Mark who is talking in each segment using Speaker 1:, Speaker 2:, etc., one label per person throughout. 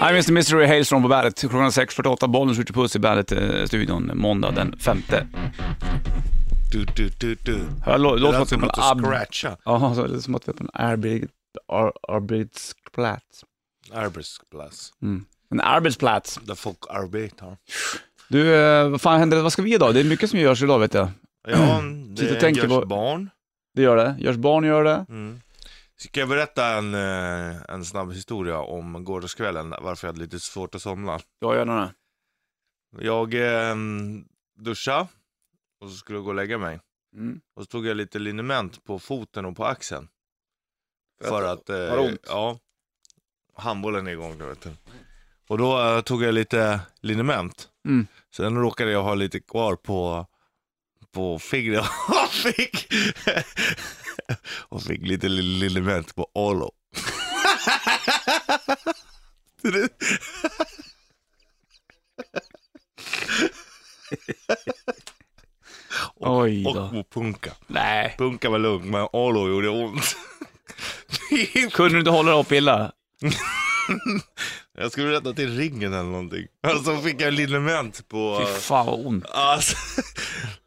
Speaker 1: I Mr Mystery Hails från på Bandet. Klockan 6.48, bollen skjuter puss i Bandet-studion måndag den 5.
Speaker 2: Du, du, du, du.
Speaker 1: Hör, lå-
Speaker 2: Det
Speaker 1: låter
Speaker 2: lät
Speaker 1: som
Speaker 2: som
Speaker 1: att vi
Speaker 2: att
Speaker 1: är
Speaker 2: du
Speaker 1: på en ab...
Speaker 2: scratchade.
Speaker 1: Ja, så det är som att vi är på en arbet... ar- arbetsplats.
Speaker 2: Arbetsplats.
Speaker 1: Mm. En arbetsplats.
Speaker 2: Där folk arbetar.
Speaker 1: Du, eh, vad fan händer? Vad ska vi idag? Det är mycket som görs idag vet jag.
Speaker 2: Ja,
Speaker 1: Sitter och
Speaker 2: det
Speaker 1: tänker
Speaker 2: görs
Speaker 1: på-
Speaker 2: barn.
Speaker 1: Det gör det. Görs barn gör det.
Speaker 2: Mm. Ska jag berätta en, eh, en snabb historia om gårdagskvällen, varför jag hade lite svårt att somna?
Speaker 1: Jag gör det.
Speaker 2: Jag eh, duschade och så skulle jag gå och lägga mig.
Speaker 1: Mm.
Speaker 2: Och så tog jag lite liniment på foten och på axeln.
Speaker 1: För
Speaker 2: För
Speaker 1: att-
Speaker 2: att... eh,
Speaker 1: var det ont?
Speaker 2: Ja. Handbollen är igång, du vet. du. Och då eh, tog jag lite liniment.
Speaker 1: Mm.
Speaker 2: Sen råkade jag ha lite kvar på, på fingret och fick, och fick lite li- liniment på Olo. Så det-
Speaker 1: Oj
Speaker 2: och
Speaker 1: då.
Speaker 2: på punka.
Speaker 1: Nej.
Speaker 2: Punka var lugn, men Olo gjorde ont.
Speaker 1: Kunde du inte hålla dig upp illa?
Speaker 2: jag skulle rätta till ringen eller någonting. Och så fick jag liniment på...
Speaker 1: Fy fan vad ont.
Speaker 2: Alltså,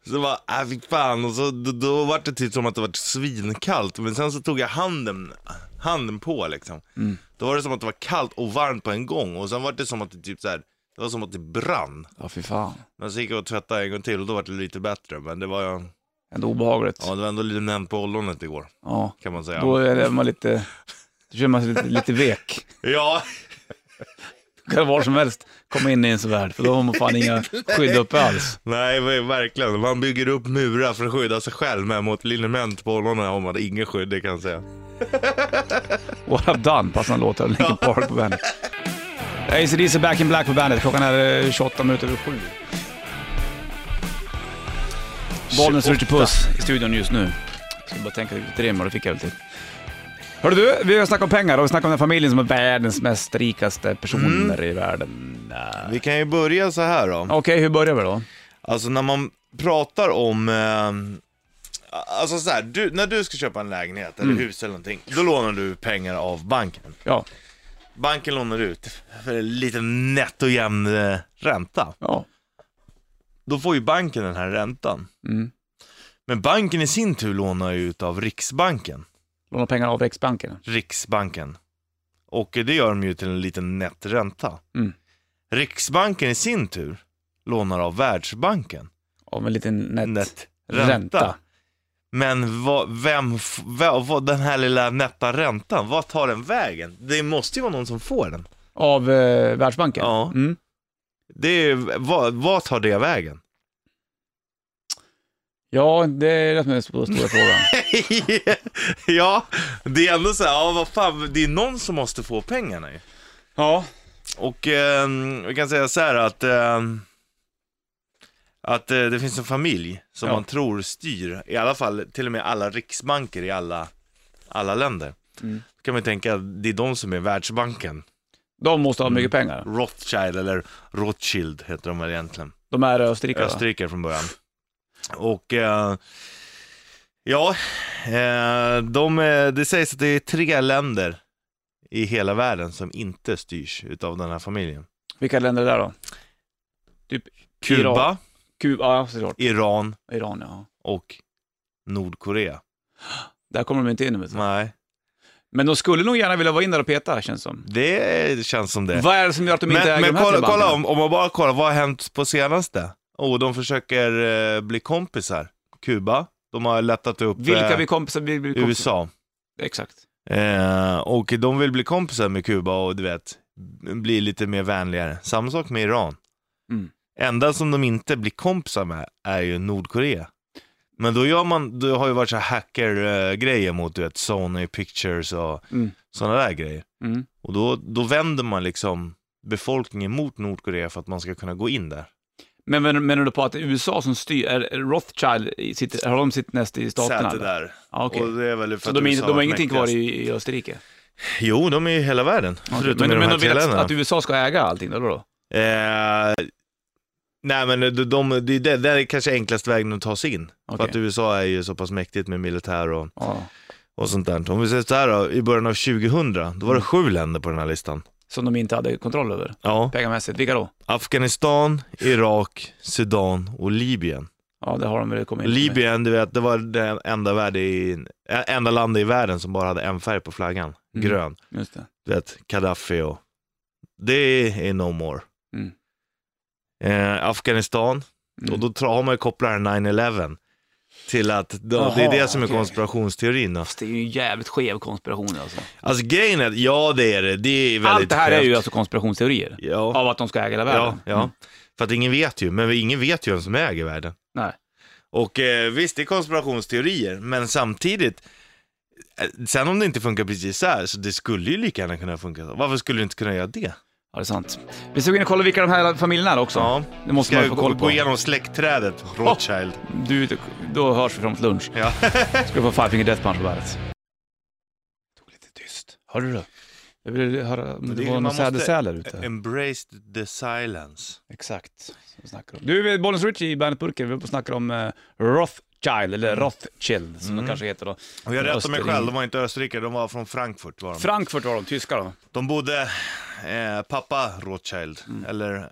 Speaker 2: så bara, äh, fy fan. Och så, då, då var det typ som att det var svinkallt. Men sen så tog jag handen, handen på liksom.
Speaker 1: Mm.
Speaker 2: Då var det som att det var kallt och varmt på en gång. Och sen var det som att det typ så här, det var som att det brann.
Speaker 1: Ja, fy fan.
Speaker 2: Men så gick jag och tvättade en gång till och då var det lite bättre. Men det var, ja,
Speaker 1: Ändå obehagligt.
Speaker 2: det var ändå liniment på ollonet igår,
Speaker 1: Ja.
Speaker 2: kan man säga.
Speaker 1: Då är man lite... Då känner man sig lite, lite vek.
Speaker 2: Ja,
Speaker 1: Då kan var som helst komma in i ens värld, för då har man fan inga skydd uppe alls.
Speaker 2: Nej, men verkligen. Man bygger upp murar för att skydda sig själv, men mot liniment på ollonen har man ingen skydd, det kan jag säga.
Speaker 1: What I've Done, passande låt av Linkin Park på bandet. AC/DC Back in Black på bandet. Klockan är eh, 28 minuter över sju. Bollnäs Ritchie Puss i studion just nu. Jag Ska bara tänka lite rim och det fick jag väl till. Hörru du, vi har snackat om pengar och vi snackar om den familjen som är världens mest rikaste personer i världen. Eh,
Speaker 2: Vi kan ju börja så här då.
Speaker 1: Okej, hur börjar vi då?
Speaker 2: Alltså när man pratar om... Eh, alltså så här, du, när du ska köpa en lägenhet eller hus eller någonting, då lånar du pengar av banken.
Speaker 1: Ja,
Speaker 2: Banken lånar ut för en liten nätt och jämn eh, ränta.
Speaker 1: ja.
Speaker 2: Då får ju banken den här räntan.
Speaker 1: Mm.
Speaker 2: Men banken i sin tur lånar ju ut av Riksbanken.
Speaker 1: Låna pengar av Riksbanken.
Speaker 2: Riksbanken. Och det gör de ju till en liten nettränta.
Speaker 1: Mm.
Speaker 2: Riksbanken i sin tur lånar av Världsbanken.
Speaker 1: Av en liten nät...
Speaker 2: Nettränta. Men vad, vem, f- vad, vad, den här lilla nätta räntan, vad tar den vägen? Det måste ju vara någon som får den.
Speaker 1: Av eh, Världsbanken?
Speaker 2: Ja.
Speaker 1: Mm.
Speaker 2: Det är, vad, vad tar det vägen?
Speaker 1: Ja, det är det som är den stora frågan.
Speaker 2: ja, det är ändå så här, ja, vad fan, det är någon som måste få pengarna ju.
Speaker 1: Ja.
Speaker 2: Och eh, jag kan säga så här att, eh, att eh, det finns en familj som
Speaker 1: Ja.
Speaker 2: man tror styr, i alla fall till och med alla riksbanker i alla, alla länder.
Speaker 1: Mm.
Speaker 2: Då kan man ju tänka att det är de som är Världsbanken.
Speaker 1: De måste ha mycket pengar.
Speaker 2: Rothschild eller Rothschild heter de väl egentligen.
Speaker 1: De är österrikare. va?
Speaker 2: Österrikare från början. Och eh, ja, eh, de, eh, det sägs att det är tre länder i hela världen som inte styrs utav den här familjen.
Speaker 1: Vilka länder är det där då? Typ Iran.
Speaker 2: Kuba,
Speaker 1: Kuba, ja såklart.
Speaker 2: Iran,
Speaker 1: Iran ja.
Speaker 2: och Nordkorea.
Speaker 1: Där kommer de inte in. Med.
Speaker 2: Nej,
Speaker 1: Men de skulle nog gärna vilja vara in där och peta, känns som.
Speaker 2: det känns som det.
Speaker 1: Vad är det som gör att de inte
Speaker 2: men
Speaker 1: äger
Speaker 2: men
Speaker 1: de här
Speaker 2: kolla,
Speaker 1: tre bankerna?
Speaker 2: kolla om, om man bara kollar, vad har hänt på senaste? Oh, de försöker eh, bli kompisar. Kuba, de har lättat upp
Speaker 1: Vilka
Speaker 2: eh,
Speaker 1: blir kompisar? Blir, blir kompisar?
Speaker 2: USA.
Speaker 1: Exakt.
Speaker 2: Eh, och de vill bli kompisar med Kuba och du vet, bli lite mer vänligare. Samma sak med Iran.
Speaker 1: Mm.
Speaker 2: Enda som de inte blir kompisar med är ju Nordkorea. Men då gör man, det har ju varit så här hacker-grejer mot du vet, Sony Pictures och
Speaker 1: Mm.
Speaker 2: sådana där grejer.
Speaker 1: Mm.
Speaker 2: Och då, då vänder man liksom befolkningen mot Nordkorea för att man ska kunna gå in där.
Speaker 1: Men men- menar du på att det är USA som styr, är är Rothschild, i sitt, har de sitt näst i staterna?
Speaker 2: Säte
Speaker 1: eller?
Speaker 2: där.
Speaker 1: Ja, okej.
Speaker 2: Och det är väl för
Speaker 1: Så
Speaker 2: att
Speaker 1: de, är, inte-
Speaker 2: USA
Speaker 1: de har
Speaker 2: varit
Speaker 1: ingenting kvar
Speaker 2: mäktigast.
Speaker 1: i, i Österrike?
Speaker 2: Jo, de är i hela världen. Förutom
Speaker 1: men
Speaker 2: i de
Speaker 1: men
Speaker 2: här
Speaker 1: de
Speaker 2: tre
Speaker 1: vill att,
Speaker 2: länderna.
Speaker 1: att USA ska äga allting, eller då?
Speaker 2: Eh, nej, men de, de, det, är det, det är kanske enklaste vägen att ta sig in. För
Speaker 1: Okej.
Speaker 2: att USA är ju så pass mäktigt med militär och,
Speaker 1: Ja.
Speaker 2: och sånt där. Om vi säger så här då, i början av 2000, då var det sju länder på den här listan.
Speaker 1: som de inte hade kontroll över?
Speaker 2: Ja.
Speaker 1: Pengamässigt, vilka då?
Speaker 2: Afghanistan, Irak, Sudan och Libyen.
Speaker 1: Ja, det har de väl kommit in med.
Speaker 2: Libyen, du vet, det var det enda, världe i, ä- enda landet i världen som bara hade en färg på flaggan,
Speaker 1: Mm.
Speaker 2: grön.
Speaker 1: Just det.
Speaker 2: Du vet, Gaddafi och... Det är no more.
Speaker 1: Mm.
Speaker 2: Eh, Afghanistan,
Speaker 1: Mm.
Speaker 2: och då tra- har man ju kopplat den 9-11 till att då,
Speaker 1: Jaha,
Speaker 2: det är det som är
Speaker 1: okej.
Speaker 2: konspirationsteorin. då.
Speaker 1: Fast det är ju en jävligt skev konspiration alltså.
Speaker 2: Alltså grejen är, ja det är det, det är väldigt
Speaker 1: Allt det här är ju
Speaker 2: skevt.
Speaker 1: alltså konspirationsteorier.
Speaker 2: Ja.
Speaker 1: Av att de ska äga hela
Speaker 2: Ja,
Speaker 1: världen. Mm.
Speaker 2: ja. För att ingen vet ju, men ingen vet ju vem som äger världen.
Speaker 1: Nej.
Speaker 2: Och eh, visst, det är konspirationsteorier, men samtidigt, eh, sen om det inte funkar precis så här, så det skulle ju lika gärna kunna funka så. Varför skulle det inte kunna göra det?
Speaker 1: Ja, det är sant. Vi ska gå in och kolla vilka de här familjerna är också.
Speaker 2: Ja.
Speaker 1: Det måste
Speaker 2: Ska
Speaker 1: man ju
Speaker 2: jag
Speaker 1: få
Speaker 2: gå,
Speaker 1: koll
Speaker 2: gå
Speaker 1: på.
Speaker 2: igenom släktträdet, Rothschild?
Speaker 1: Du, då hörs vi framåt lunch.
Speaker 2: Ja.
Speaker 1: Ska du få Five Finger Death Punch på bandet. Tog lite tyst. Hörde du? det? Jag ville höra om det,
Speaker 2: Det är-
Speaker 1: var någon
Speaker 2: man måste-
Speaker 1: sädesärla ute.
Speaker 2: Embrace the silence.
Speaker 1: Exakt. Som vi snackar om. Du, vi är Bollens Richie i bandet Burken. Vi var på och snackade om eh, Rothschild, eller Rothschild som de kanske heter då.
Speaker 2: Och jag rättar mig
Speaker 1: Österrike.
Speaker 2: själv, de var inte österrikare, de var från Frankfurt. Var de.
Speaker 1: Frankfurt var de, tyskar då.
Speaker 2: de bodde, eh, pappa Rothschild, eller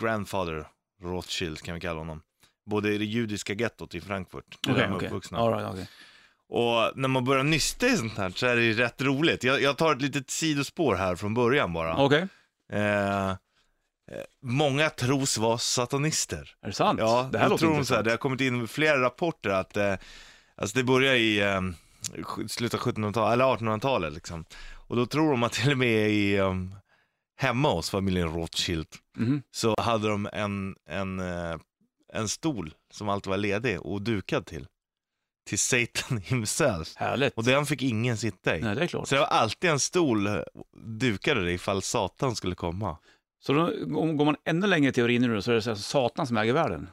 Speaker 2: grandfather Rothschild kan vi kalla honom. Bodde i det judiska gettot i Frankfurt, där de är uppvuxna.
Speaker 1: All right, okay.
Speaker 2: Och när man börjar nysta i sånt här så är det ju rätt roligt. Jag, jag tar ett litet sidospår här från början bara.
Speaker 1: Okej.
Speaker 2: Eh, eh, många tros vara satanister.
Speaker 1: Är det sant?
Speaker 2: Ja,
Speaker 1: det här
Speaker 2: jag
Speaker 1: låter
Speaker 2: tror de så här.
Speaker 1: intressant.
Speaker 2: Det har kommit in flera rapporter att eh, alltså det börjar i eh, sj- slutet av 1700-talet, eller 1800-talet liksom. Och då tror de att till och med i, eh, hemma hos familjen Rothschild
Speaker 1: Mhm.
Speaker 2: så hade de en, en, eh, en stol som alltid var ledig och dukad till. Till Satan himself.
Speaker 1: Härligt.
Speaker 2: Och den fick ingen sitta i.
Speaker 1: Nej, det är klart.
Speaker 2: Så det var alltid en stol eh, dukade ifall Satan skulle komma.
Speaker 1: Så då om- går man ännu längre i teorin nu då, så är det så här, Satan som äger världen.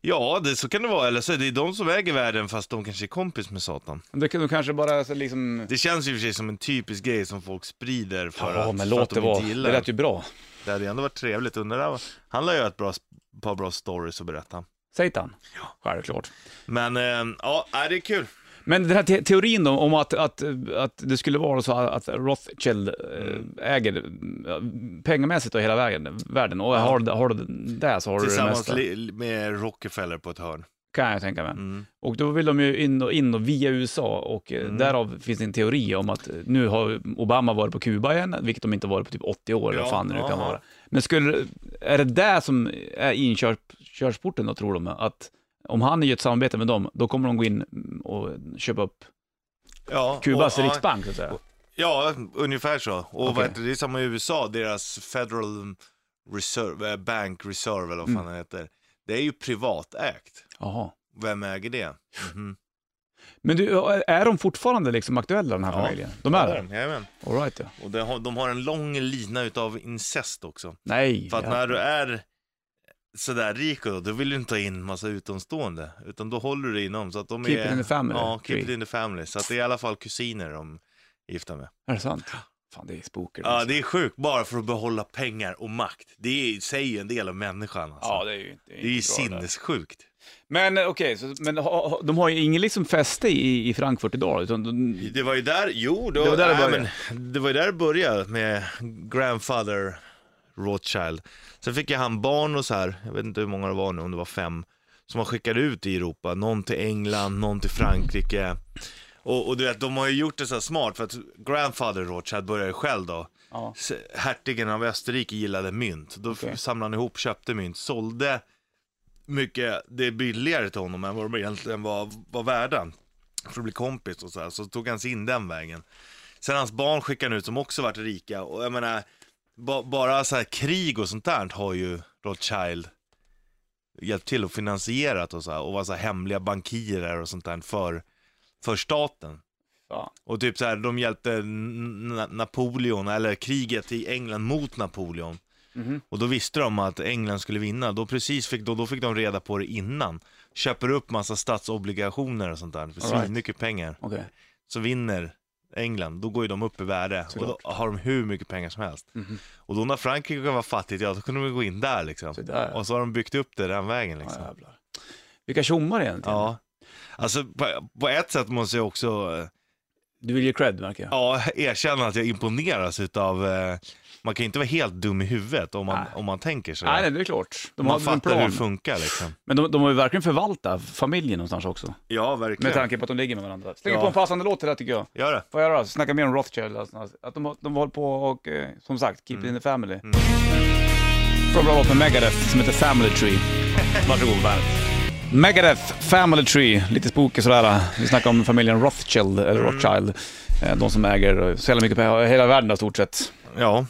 Speaker 2: Ja, det, så kan det vara. Eller så är det de som äger världen fast de kanske är kompis med Satan.
Speaker 1: Det kan du kanske bara så liksom...
Speaker 2: Det känns ju i och för sig som en typisk grej som folk sprider för
Speaker 1: Ja,
Speaker 2: att,
Speaker 1: men
Speaker 2: för
Speaker 1: låt
Speaker 2: att
Speaker 1: det
Speaker 2: de
Speaker 1: vara.
Speaker 2: inte gillar.
Speaker 1: Det lät ju bra.
Speaker 2: Det hade ju ändå varit trevligt. Undrar, han lär ju ha ett bra, s- par bra stories att berätta.
Speaker 1: Satan. Ja. Självklart.
Speaker 2: Men eh, ja, nej, det är kul.
Speaker 1: Men den här te- teorin då om att, att, att det skulle vara så att Rothschild eh,
Speaker 2: Mm.
Speaker 1: äger eh, pengamässigt då hela vägen, världen och har, du- har du det så har du det
Speaker 2: Tillsammans
Speaker 1: mesta.
Speaker 2: li, li- med Rockefeller på ett hörn.
Speaker 1: Kan jag tänka mig.
Speaker 2: Mm.
Speaker 1: Och då vill de ju in och, in och via USA och eh, därav finns det en teori om att eh, nu har Obama varit på Kuba igen, vilket de inte varit på typ 80 år eller
Speaker 2: Ja,
Speaker 1: vad fan det nu kan
Speaker 2: ja.
Speaker 1: vara. Men skulle, är det där som är inkörsporten då tror de? Att om han gör ett samarbete med dem, då kommer de gå in och köpa upp
Speaker 2: Ja,
Speaker 1: Kubas
Speaker 2: och- ja,
Speaker 1: riksbank så att säga.
Speaker 2: Ja, ungefär så. Och
Speaker 1: Okej.
Speaker 2: vad heter det? det är samma i USA, deras Federal Reserve, eh, Bank Reserve eller vad
Speaker 1: Mm.
Speaker 2: fan det heter. Det är ju privatägt.
Speaker 1: Jaha.
Speaker 2: Vem äger det? Mhm.
Speaker 1: Men du, är de fortfarande liksom aktuella den här
Speaker 2: Ja.
Speaker 1: familjen? De är det?
Speaker 2: Jajamän.
Speaker 1: All right, ja.
Speaker 2: Och det har, de har en lång lina utav incest också.
Speaker 1: Nej.
Speaker 2: För att
Speaker 1: ja.
Speaker 2: när du är sådär rik och då, då vill du inte ha in massa utomstående. Utan då håller du dig inom. Så att de
Speaker 1: Keep
Speaker 2: är,
Speaker 1: it in the family.
Speaker 2: Ja, keep it
Speaker 1: tree.
Speaker 2: in the family. Så att det är i alla fall kusiner de är gifta med.
Speaker 1: Är det sant? Fan, det är spooker.
Speaker 2: Ja,
Speaker 1: alltså.
Speaker 2: det är sjukt. Bara för att behålla pengar och makt. Det är, säger ju en del av människan alltså.
Speaker 1: Ja, det är ju inte,
Speaker 2: det är ju
Speaker 1: inte bra där.
Speaker 2: sinnessjukt.
Speaker 1: Men eh, okej, så- men ha, ha, de har ju ingen liksom fäste i, i Frankfurt idag, utan de,
Speaker 2: Det var ju där, jo då,
Speaker 1: Det var där det
Speaker 2: nej,
Speaker 1: började.
Speaker 2: men, det var ju där det började med grandfather Rothschild. Sen fick ju han barn och så här, jag vet inte hur många det var nu, om det var fem, som han skickade ut i Europa. Någon till England, någon till Frankrike. Och, och du vet, de har ju gjort det så här smart för att grandfather Rothschild började ju själv då.
Speaker 1: Ja.
Speaker 2: S- Hertigen av Österrike gillade mynt. Då
Speaker 1: Okej.
Speaker 2: samlade han ihop, köpte mynt, sålde mycket, det är billigare till honom än vad de egentligen var, var värda. För att bli kompis och så här, så tog han sig in den vägen. Sen hans barn skickade han ut som också varit rika och jag menar, ba, bara så här krig och sånt där har ju Rothschild hjälpt till och finansierat och så här, och var så här hemliga bankirer och sånt där för, för staten.
Speaker 1: Fan.
Speaker 2: Och typ så här, de hjälpte N- Na- Napoleon, eller kriget i England mot Napoleon.
Speaker 1: Mhm.
Speaker 2: Och då visste de att England skulle vinna. Då, precis fick, då, då fick de reda på det innan. Köper upp massa statsobligationer och sånt där för
Speaker 1: All right.
Speaker 2: svinmycket pengar.
Speaker 1: okej.
Speaker 2: Så vinner England, då går ju de upp i värde. Och då har de hur mycket pengar som helst.
Speaker 1: Mhm.
Speaker 2: Och då när Frankrike var fattigt, ja då kunde de gå in där liksom.
Speaker 1: Så där.
Speaker 2: Och så har de byggt upp det den vägen liksom.
Speaker 1: Ja, jävlar. Vilka tjommar egentligen.
Speaker 2: Ja. Alltså på, på ett sätt måste jag också eh,
Speaker 1: Du vill ge cred märker jag.
Speaker 2: ja, erkänna att jag imponeras utav eh, Man kan ju inte vara helt dum i huvudet om man,
Speaker 1: Nej.
Speaker 2: om man tänker så.
Speaker 1: Nej, nej, det är klart. De
Speaker 2: man
Speaker 1: har en
Speaker 2: fattar hur
Speaker 1: plan.
Speaker 2: det funkar liksom.
Speaker 1: Men de, de har ju verkligen förvaltat familjen någonstans också.
Speaker 2: Ja,
Speaker 1: Med
Speaker 2: verkligen.
Speaker 1: tanke på att de ligger med varandra. Slänger
Speaker 2: Ja.
Speaker 1: på en passande låt till det här, tycker jag.
Speaker 2: Gör det.
Speaker 1: Får jag göra? Snacka mer om Rothschild. Alltså, alltså, att de, har- de håller på och, eh, som sagt, keep it
Speaker 2: Mm.
Speaker 1: in the family. Från bra låt med Megadeth som heter Family Tree. Varsågod bandet. Megadeth, Family Tree, lite spooky sådär. Vi snackar om familjen Rothschild, eller
Speaker 2: Mm.
Speaker 1: Rothschild. Eh, De som äger eh, så jävla mycket pengar, hela världen i stort sett.
Speaker 2: Ja.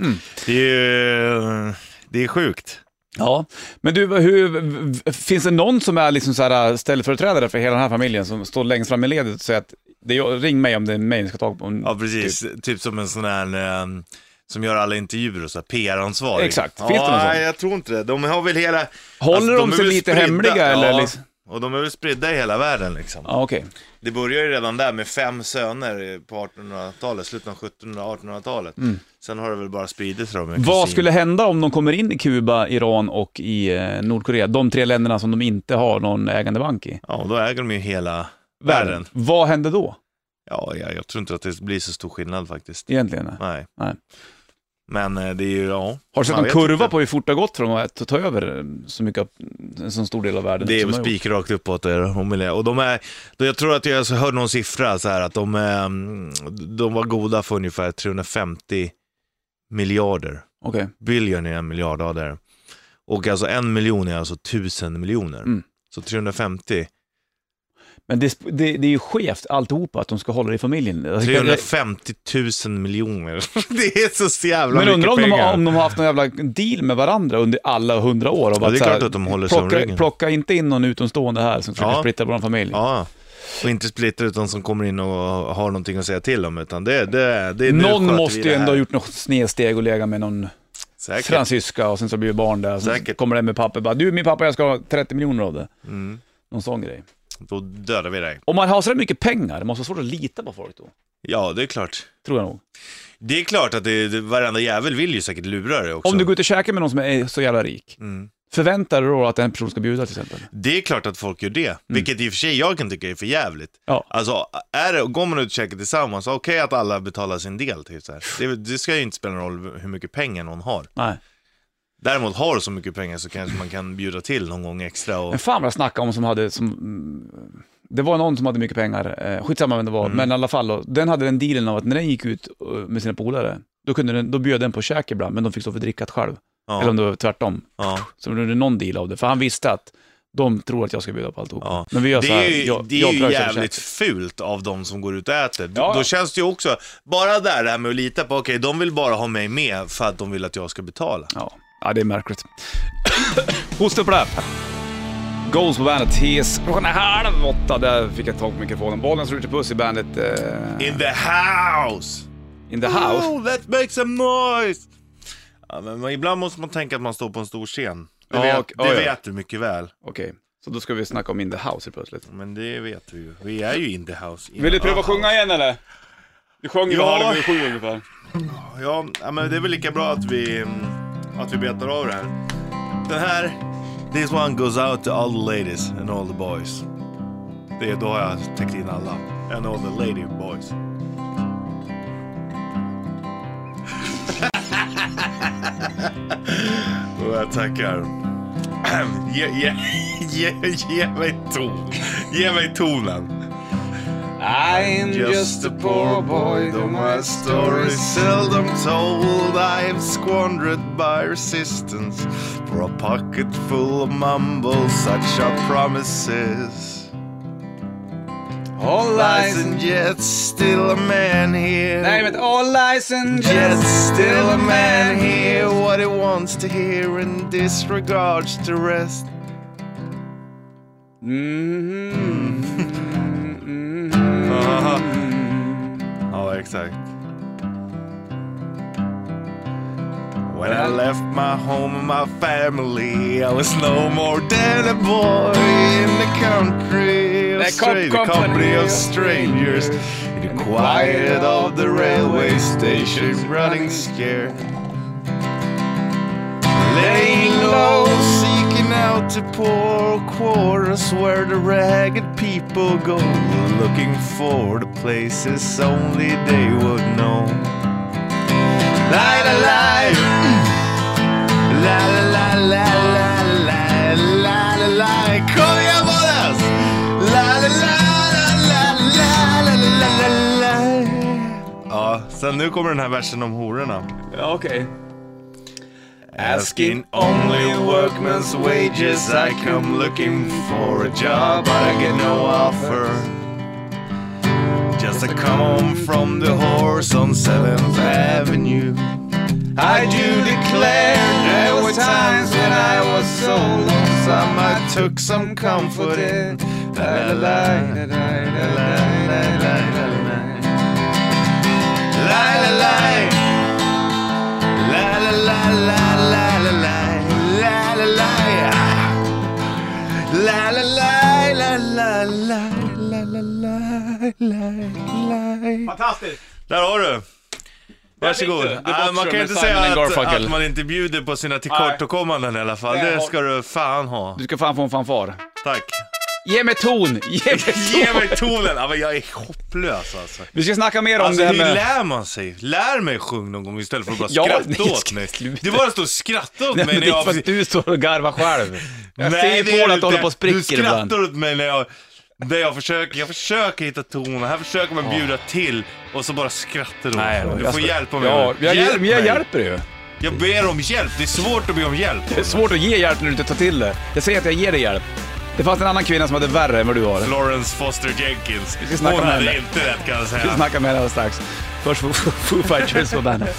Speaker 1: Mm.
Speaker 2: Det är ju... eh, Det är sjukt.
Speaker 1: Ja, men du, hur, v- v- finns det någon som är liksom så här ställföreträdare för hela den här familjen som står längst fram i ledet och säger att det är jag, ring mig om det är mig ni ska ta på? en-
Speaker 2: Ja, precis. Typ, som en sån här eh, som gör alla intervjuer och så här, PR-ansvarig.
Speaker 1: Exakt. Finns
Speaker 2: Ja,
Speaker 1: det någon sån?
Speaker 2: Nej, jag tror inte det. De har väl hela...
Speaker 1: Håller de
Speaker 2: Alltså,
Speaker 1: sig
Speaker 2: är väl
Speaker 1: lite hemliga, eller liksom?
Speaker 2: Och de är väl spridda i hela världen liksom.
Speaker 1: Ja, okej.
Speaker 2: Det börjar ju redan där med fem söner på 1800-talet, slutet av 1700 1800-talet. Sen har det väl bara spridit sig. då med
Speaker 1: Mm. Vad
Speaker 2: kusiner.
Speaker 1: skulle hända om de kommer in i Kuba, Iran och i eh, Nordkorea? De tre länderna som de inte har någon ägande bank i.
Speaker 2: Ja, och då äger de ju hela världen.
Speaker 1: Världen. Vad händer då
Speaker 2: Ja, jag, jag tror inte att det blir så stor skillnad faktiskt.
Speaker 1: egentligen?
Speaker 2: Nej.
Speaker 1: Nej.
Speaker 2: Men eh, det är ju, ja.
Speaker 1: Har du sett
Speaker 2: man
Speaker 1: någon
Speaker 2: vet
Speaker 1: kurva
Speaker 2: inte.
Speaker 1: på hur fort det har gått från att ta över eh, så mycket, av- en så stor del av världen?
Speaker 2: Det är
Speaker 1: som
Speaker 2: väl
Speaker 1: de har gjort?
Speaker 2: spikrakt uppåt. är det. Hon vill- Och de är, då jag tror att jag så hörde någon siffra så här att de, eh, de var goda för ungefär 350 miljarder.
Speaker 1: Okej,
Speaker 2: Billion är en miljard, ja, där. Och alltså en miljon är alltså tusen miljoner.
Speaker 1: Mm.
Speaker 2: Så 350,
Speaker 1: men det, sp- det, det är ju skevt alltihopa att de ska hålla det i familjen. Alltså, kan-
Speaker 2: 350 000 miljoner. Det är så jävla
Speaker 1: men undrar
Speaker 2: mycket
Speaker 1: om de,
Speaker 2: pengar.
Speaker 1: har, om de har haft någon jävla deal med varandra under alla hundra år. Av
Speaker 2: Ja, det är
Speaker 1: så
Speaker 2: klart
Speaker 1: här,
Speaker 2: att de håller sig om
Speaker 1: plocka,
Speaker 2: ryggen.
Speaker 1: plocka inte in någon utomstående här som försöker
Speaker 2: Ja.
Speaker 1: splittra vår familj.
Speaker 2: Ja, och inte splitter utan som kommer in och har någonting att säga till om. Utan det, det, det, nu sköter
Speaker 1: någon
Speaker 2: vi
Speaker 1: måste
Speaker 2: det
Speaker 1: ju ändå
Speaker 2: här.
Speaker 1: ha gjort något snedsteg och lägga med någon
Speaker 2: Säkert.
Speaker 1: fransyska och sen så blir det barn där. Sen
Speaker 2: Säkert.
Speaker 1: kommer det med papper bara, du min pappa jag ska ha 30 miljoner av det.
Speaker 2: Mm.
Speaker 1: Någon sån grej.
Speaker 2: Då dödar vi dig.
Speaker 1: Om man har sådär mycket pengar, det måste vara svårt att lita på folk då.
Speaker 2: Ja, det är klart.
Speaker 1: Tror jag nog.
Speaker 2: Det är klart att det, det, varenda jävel vill ju säkert lura dig också.
Speaker 1: Om du går ut och käkar med någon som är så jävla rik,
Speaker 2: Mm.
Speaker 1: förväntar du dig då att en person ska bjuda till exempel?
Speaker 2: Det är klart att folk gör det,
Speaker 1: Mm.
Speaker 2: vilket i och för sig jag kan tycka är för jävligt.
Speaker 1: Ja.
Speaker 2: Alltså, är det, går man ut och käkar tillsammans, okej att alla betalar sin del. Typ, så här. Det, det ska ju inte spela någon roll hur mycket pengar någon har.
Speaker 1: Nej.
Speaker 2: Däremot har du så mycket pengar så kanske man kan bjuda till någon gång extra. Och...
Speaker 1: Men fan vad jag snackade om som hade, som, mm, det var någon som hade mycket pengar, eh, skitsamma vem det
Speaker 2: Mm.
Speaker 1: var, men i alla fall, då, den hade den dealen av att när den gick ut eh, med sina polare, då, kunde den, då bjöd den på käk ibland, men de fick stå för drickat själv. Eller
Speaker 2: Ja,
Speaker 1: om det var tvärtom.
Speaker 2: ja.
Speaker 1: Så det blev någon deal av det, för han visste att de tror att jag ska bjuda på alltihop.
Speaker 2: Ja.
Speaker 1: Men vi gör
Speaker 2: Det
Speaker 1: så här,
Speaker 2: är ju,
Speaker 1: jag,
Speaker 2: det är
Speaker 1: jag
Speaker 2: ju
Speaker 1: drar istället
Speaker 2: jävligt
Speaker 1: käk.
Speaker 2: fult av de som går ut och äter. Då-
Speaker 1: Ja.
Speaker 2: Då känns det ju också, bara där det här med att lita på, okej de vill bara ha mig med för att de vill att jag ska betala.
Speaker 1: Ja. ja, det är märkligt. Hosta på det här. Goals på bandet, TS. Klockan är halv åtta, där fick jag tag på mikrofonen. Bollnäs Ritchie Puss i bandet eh,
Speaker 2: In the house!
Speaker 1: In the House.
Speaker 2: Oh, let's make some noise! Ja, men men ibland måste man tänka att man står på en stor scen. Det,
Speaker 1: Ja,
Speaker 2: vet,
Speaker 1: och-
Speaker 2: det
Speaker 1: ja, ja.
Speaker 2: vet du mycket väl.
Speaker 1: Okej, så då ska vi snacka om In the House helt plötsligt.
Speaker 2: Men det vet du ju. Vi är ju in the house.
Speaker 1: Vill du prova att sjunga igen eller? Du sjöng ju
Speaker 2: Ah. Ja.
Speaker 1: ja. halv sju ungefär.
Speaker 2: Ja, ja, men det är väl lika bra att vi, mm, att vi betar av det här. Den här, this one goes out to all the ladies and all the boys. Det är då har jag täckt in alla. And all the lady boys. Och jag tackar. Ge, ge, ge, ge mig ton. Ge mig tonen.
Speaker 1: I'm
Speaker 2: Just a poor boy, though my story's seldom told. I've squandered by resistance for a pocket full of mumbles, such are promises.
Speaker 1: All
Speaker 2: Lies and yet, still a man here.
Speaker 1: Nej, men all lies and
Speaker 2: Yet
Speaker 1: just
Speaker 2: still a man here, what he wants to hear and disregards the rest. Mm-hmm.
Speaker 1: Mhm.
Speaker 2: Ja, exakt. When I left my home and my family I was no more than a boy in the country
Speaker 1: The
Speaker 2: of
Speaker 1: com-
Speaker 2: stra- the company
Speaker 1: company
Speaker 2: of
Speaker 1: of
Speaker 2: strangers In the quiet of the railway station running scared Laying low, seeking out the poor quarters where the ragged people go Looking for the places only they would know Ja, sen nu kommer den här versen om hororna.
Speaker 1: Ja, okej.
Speaker 2: Asking only workman's wages, I come looking for a job, but I get no offer. Just I come home from the horse on 7th Avenue. I do declare there were times when I was so lonesome, I took some comfort in. La, la, la, la, la, la, la, la, la. La, la, la. La la la la la la la la la la la la la la la la la Fantastiskt! Där har du! Varsågod.
Speaker 1: fick du. The
Speaker 2: Ah, man
Speaker 1: Boxer
Speaker 2: kan
Speaker 1: med
Speaker 2: inte
Speaker 1: Simon
Speaker 2: säga
Speaker 1: and
Speaker 2: att,
Speaker 1: Garfunkel.
Speaker 2: att man inte bjuder på sina tillkortakommanden i alla fall.
Speaker 1: Nej,
Speaker 2: Det
Speaker 1: har-
Speaker 2: ska du fan ha.
Speaker 1: Du ska fan få en fanfar.
Speaker 2: Tack.
Speaker 1: Ge mig ton! Ge mig
Speaker 2: Ge
Speaker 1: ton!
Speaker 2: mig tonen! Ja, men jag är hopplös alltså.
Speaker 1: Vi ska snacka mer om
Speaker 2: Alltså
Speaker 1: det här
Speaker 2: hur
Speaker 1: med...
Speaker 2: lär man sig? Lär mig sjung någon gång istället för att bara
Speaker 1: Ja,
Speaker 2: skratta
Speaker 1: nej,
Speaker 2: åt mig.
Speaker 1: sluta.
Speaker 2: Du bara står och skrattar åt
Speaker 1: Nej,
Speaker 2: mig
Speaker 1: men
Speaker 2: när
Speaker 1: det är för
Speaker 2: jag
Speaker 1: att du står och garvar själv. Jag ser ju på
Speaker 2: det
Speaker 1: dig att
Speaker 2: inte.
Speaker 1: du håller på och
Speaker 2: Du
Speaker 1: spricker
Speaker 2: skrattar
Speaker 1: ibland.
Speaker 2: åt mig när jag, när jag försöker, jag försöker hitta tonen, här försöker man bjuda till och så bara skrattar du
Speaker 1: Nej,
Speaker 2: åt mig. Du
Speaker 1: jag
Speaker 2: får
Speaker 1: ska-
Speaker 2: hjälpa mig.
Speaker 1: Ja, jag, hjälp
Speaker 2: hjälp
Speaker 1: jag,
Speaker 2: mig.
Speaker 1: hjälper ju.
Speaker 2: Jag ber om hjälp, det är svårt att be om hjälp.
Speaker 1: Det är svårt att ge hjälp när du inte tar till det. Jag säger att jag ger dig hjälp. Det fanns en annan kvinna som hade värre än vad du har.
Speaker 2: Florence Foster Jenkins.
Speaker 1: ska snacka
Speaker 2: Hon
Speaker 1: om
Speaker 2: hade
Speaker 1: henne.
Speaker 2: inte rätt kan jag
Speaker 1: Vi
Speaker 2: säga.
Speaker 1: snackar med henne alldeles strax. Först Foo- Foo Fighters på bandet.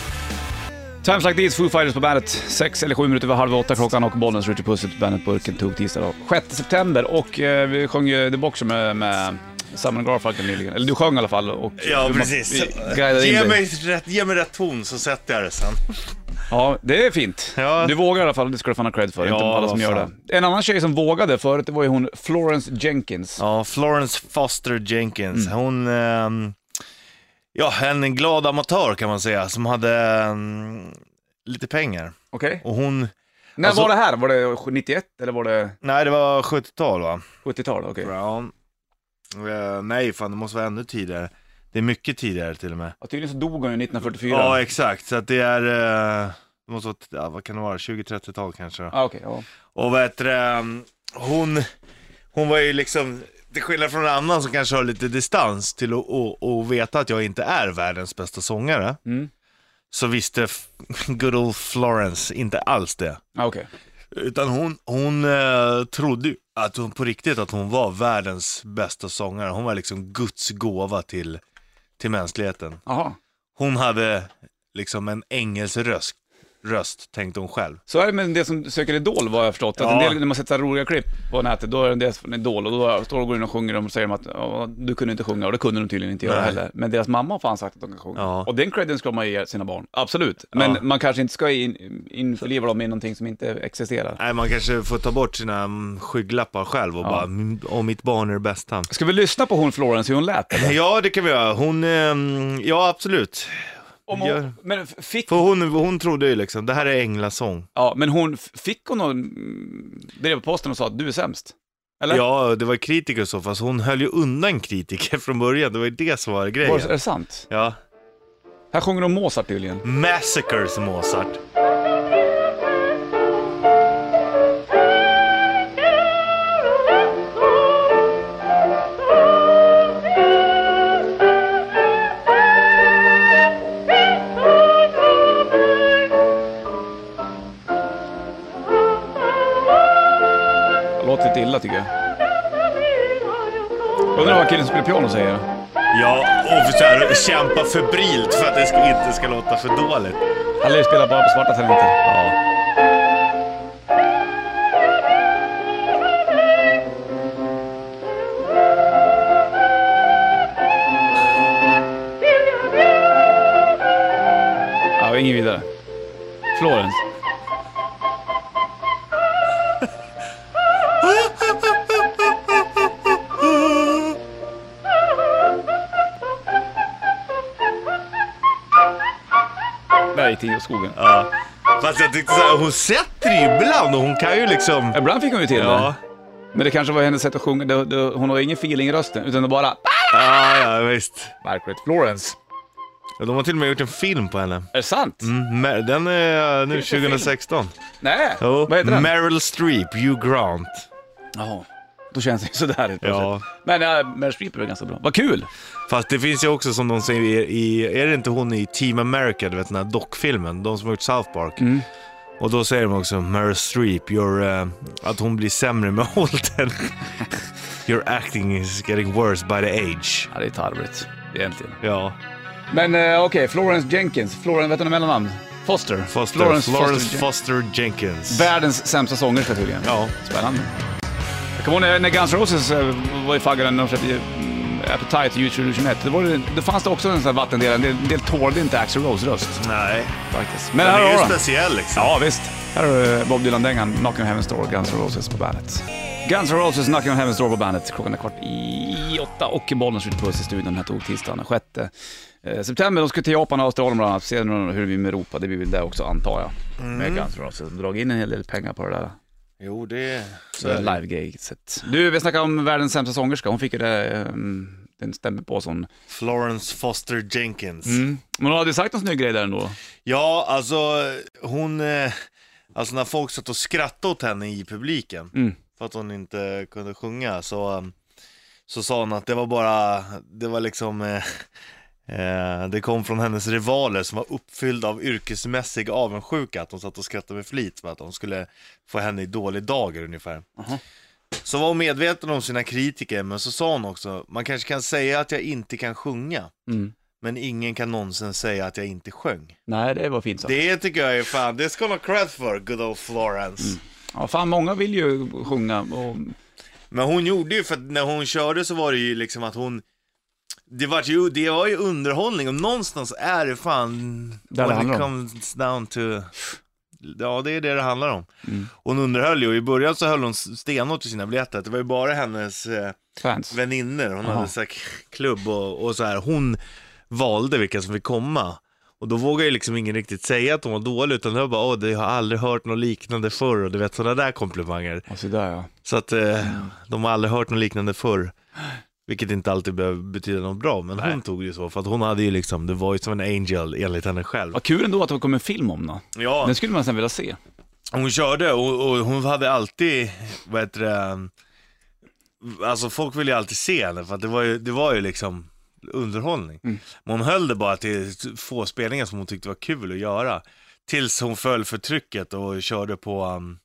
Speaker 1: Times Like These, Foo Fighters på bandet. Sex eller sju minuter över halv åtta klockan och Bollnäs Ritchie Puss på bandet Burken tog tisdag då. 6 september och eh, vi sjöng ju The Boxer med, med Simon Garfunkel nyligen. Eller du sjöng i alla fall. Och
Speaker 2: Ja,
Speaker 1: du-
Speaker 2: precis.
Speaker 1: vi guidade in
Speaker 2: Ge
Speaker 1: dig.
Speaker 2: mig, rätt, ge mig rätt ton så sätter jag det sen.
Speaker 1: Ja, det är fint.
Speaker 2: Ja.
Speaker 1: Du vågar i alla fall, det ska du fan ha cred för.
Speaker 2: Ja,
Speaker 1: Inte alla som
Speaker 2: vad
Speaker 1: gör
Speaker 2: fan.
Speaker 1: det. En annan tjej som vågade förut, det var ju hon Florence Jenkins.
Speaker 2: Ja, Florence Foster Jenkins. Hon... ehm, ja, en glad amatör kan man säga, som hade ehm, lite pengar.
Speaker 1: Okej.
Speaker 2: Och hon...
Speaker 1: När
Speaker 2: Alltså-
Speaker 1: var det här? Var det 91 eller var det
Speaker 2: Nej, det var 70-tal va?
Speaker 1: 70-tal? Okej.
Speaker 2: Ja. Eh, nej, fan det måste vara ännu tidigare. Det är mycket tidigare till och med.
Speaker 1: Ja, tydligen så dog hon ju 1944.
Speaker 2: Ja, exakt. Så att det är... eh, det måste vara, ja, vad kan det vara? 20-30-tal kanske. då.
Speaker 1: Ah, okej, ja.
Speaker 2: Och vad heter det, um, hon, hon var ju liksom, till skillnad från en annan som kanske har lite distans till att och, och veta att jag inte är världens bästa sångare,
Speaker 1: Mm.
Speaker 2: så visste f- good old Florence inte alls det.
Speaker 1: Ah, okej.
Speaker 2: Utan hon, hon eh, trodde ju att hon på riktigt att hon var världens bästa sångare. Hon var liksom Guds gåva till, till mänskligheten.
Speaker 1: Jaha.
Speaker 2: Hon hade liksom en ängels röst, röst tänkte hon själv.
Speaker 1: Så är det med det som söker idol vad jag har förstått. Att en
Speaker 2: Ja.
Speaker 1: del, när man sätter så här roliga klipp på nätet, då är det en del från idol och då står de och går in och sjunger och säger de att "Ja, du kunde inte sjunga och det kunde de tydligen inte göra
Speaker 2: Nej.
Speaker 1: heller. Men deras mamma har fan sagt att de kan sjunga.
Speaker 2: Ja.
Speaker 1: Och den credden ska man ge sina barn, absolut. Men man kanske inte ska in, införliva dem i någonting som inte existerar.
Speaker 2: Nej, man kanske får ta bort sina mm, skygglappar själv och bara, "Mm, om mitt barn är det bästa.
Speaker 1: Ska vi lyssna på hon Florence, hur hon lät? Eller?
Speaker 2: Ja, det kan vi göra. Hon, ehm, ja absolut.
Speaker 1: Om
Speaker 2: Gör.
Speaker 1: hon, men, f- fick,
Speaker 2: För hon, hon trodde ju liksom, det här är änglasång.
Speaker 1: ja, men hon, f- fick hon någon, mm, drev på posten och sa att du är sämst? Eller?
Speaker 2: Ja, det var kritiker så, fast hon höll ju undan kritiker från början. Det var ju det som var
Speaker 1: Var, är
Speaker 2: grejen.
Speaker 1: det sant?
Speaker 2: Ja.
Speaker 1: Här sjunger de Mozart tydligen.
Speaker 2: Massacres Mozart.
Speaker 1: Låter lite illa tycker jag. Undrar vad killen som spelar piano säger.
Speaker 2: Ja, och så här, kämpa febrilt för att det ska, inte ska låta för dåligt.
Speaker 1: Han lär ju spela bara på svarta tangenter.
Speaker 2: Ja.
Speaker 1: Ja, ingen vidare. Florens. Där gick det i skogen.
Speaker 2: ja. Fast jag tyckte så här, hon sätter ju ibland och hon kan ju liksom...
Speaker 1: Ibland fick hon ju till
Speaker 2: Ja,
Speaker 1: det. Men det kanske var hennes sätt att sjunga. Det, det, hon har ingen feeling i rösten, utan det bara...
Speaker 2: ja, ja visst.
Speaker 1: Margaret Florence.
Speaker 2: Ja, De har till och med gjort en film på henne.
Speaker 1: Är det sant?
Speaker 2: Mm, Mer- Den är nu 2016.
Speaker 1: Nej,
Speaker 2: Jo,
Speaker 1: vad heter den?
Speaker 2: Meryl Streep, Hugh Grant.
Speaker 1: Jaha, då känns det ju sådär helt
Speaker 2: Ja.
Speaker 1: plötsligt. Men äh, Meryl Streep är väl ganska bra. Vad kul!
Speaker 2: Fast det finns ju också som de säger i, i är det inte hon i Team America, du vet den här dockfilmen, de som har gjort South Park.
Speaker 1: Mm.
Speaker 2: Och då säger de också Meryl Streep, you're, eh, att hon blir sämre med åldern. your acting is getting worse by the age.
Speaker 1: Ja, det är tarvligt egentligen.
Speaker 2: Ja,
Speaker 1: Men eh, okej, Florence Jenkins. Florence, vet du hennes mellannamn? Foster.
Speaker 2: Foster,
Speaker 1: Florence, Foster.
Speaker 2: Florence, Foster, Jenkins.
Speaker 1: Världens sämsta sångerska tydligen.
Speaker 2: ja,
Speaker 1: Spännande. Jag kommer ihåg när- när Guns N' Roses eh, var i faggan när de släppte eh, Appetite och U2 Illusion 1. Då, var det, då fanns det också en sån här vattendelare. En del, en del tålde inte Axl Rose röst
Speaker 2: nej.
Speaker 1: faktiskt. Men
Speaker 2: Den
Speaker 1: här
Speaker 2: är ju
Speaker 1: har du
Speaker 2: speciell liksom.
Speaker 1: Ja, visst. Här har du eh, Bob Dylan-dängan, Knocking on Heaven's Door, Guns N' Roses på bandet. Guns N' Roses, Knocking on Heaven's Door på bandet. Klockan är kvart i åtta och Bollnäs skjuter puss i studion den här tog-tisdagen den sjätte eh, september. De ska till Japan och Australien bland annat. Se nu hur vi med Europa, det blir väl det också antar jag. Med Guns N' Roses. Dragit in en hel del pengar på det där
Speaker 2: Jo, det...
Speaker 1: live-gaget. Du, vi snackade om världens sämsta sångerska. Hon fick ju det, ehm, den stämmer på sån.
Speaker 2: Florence Foster Jenkins.
Speaker 1: Men hon hade ju sagt någon snygg grej där ändå.
Speaker 2: Ja, alltså hon... eh, Alltså när folk satt och skrattade åt henne i publiken
Speaker 1: Mm.
Speaker 2: för att hon inte kunde sjunga så, eh, så sa hon att det var bara, det var liksom, eh, eh, det kom från hennes rivaler som var uppfyllda av yrkesmässig avundsjuka att de satt och skrattade med flit för att de skulle få henne i dålig dager ungefär.
Speaker 1: Aha.
Speaker 2: Så var hon medveten om sina kritiker men så sa hon också, man kanske kan säga att jag inte kan sjunga
Speaker 1: Mm.
Speaker 2: men ingen kan någonsin säga att jag inte sjöng.
Speaker 1: Nej, det var fint sagt.
Speaker 2: Det tycker jag är fan, det ska hon ha cred för, good old Florence.
Speaker 1: Mm. Ja, fan många vill ju sjunga och
Speaker 2: Men hon gjorde ju, för att när hon körde så var det ju liksom att hon det var, ju, det var ju underhållning och någonstans är det fan
Speaker 1: Där det
Speaker 2: when
Speaker 1: handlar
Speaker 2: it
Speaker 1: om.
Speaker 2: comes down to Ja det är det det handlar om.
Speaker 1: Mm.
Speaker 2: Hon underhöll ju och i början så höll hon stenhårt i sina biljetter. Det var ju bara hennes eh,
Speaker 1: fans.
Speaker 2: väninnor, hon
Speaker 1: Aha.
Speaker 2: hade så här k- klubb och, och så här. Hon valde vilka som fick komma. Och då vågade ju liksom ingen riktigt säga att hon var dålig utan det var bara, åh, det har jag aldrig hört något liknande förr och du vet sådana där komplimanger.
Speaker 1: Ja, så där ja.
Speaker 2: Så att eh, de har aldrig hört något liknande förr. Vilket inte alltid behöver betyda något bra, men hon tog det ju så för att hon hade ju liksom the voice of an angel enligt henne själv.
Speaker 1: Vad kul ändå att det kom en film om den.
Speaker 2: Ja,
Speaker 1: Den skulle man sen vilja se.
Speaker 2: hon körde och, och hon hade alltid, vad heter det, alltså folk ville ju alltid se henne för att det var ju, det var ju liksom underhållning. Men hon höll det bara till få spelningar som hon tyckte var kul att göra. Tills hon föll för trycket och körde på, um,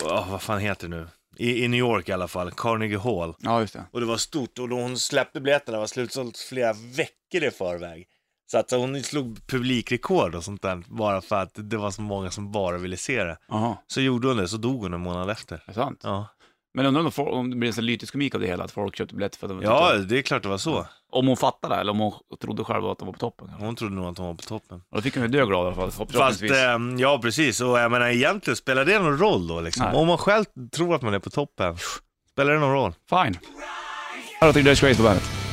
Speaker 2: på ah, vad fan heter det nu? I, I New York i alla fall, Carnegie Hall.
Speaker 1: Ja, just det.
Speaker 2: Och det var stort och då hon släppte biljetterna var slutsålt flera veckor i förväg. Så att hon slog publikrekord och sånt där bara för att det var så många som bara ville se det.
Speaker 1: Jaha,
Speaker 2: Så gjorde hon det, så dog hon en månad efter.
Speaker 1: är det sant?
Speaker 2: Ja,
Speaker 1: Men undrar om, det får- om det blir så lytisk komik av det hela, att folk köpte biljetter för att de
Speaker 2: ja
Speaker 1: tyckte-
Speaker 2: det är klart det var så.
Speaker 1: Om hon fattade eller om hon trodde själv att de var på toppen. kanske.
Speaker 2: Hon trodde nog att hon var på toppen.
Speaker 1: Och då fick hon ju dö glad i alla fall,
Speaker 2: Fast,
Speaker 1: förhoppningsvis.
Speaker 2: ehm, ja precis, och jag menar egentligen, spelar det någon roll då liksom?
Speaker 1: Nej.
Speaker 2: Om man själv tror att man är på toppen, spelar det någon roll?
Speaker 1: Fine. Här har du Disgrace på bandet.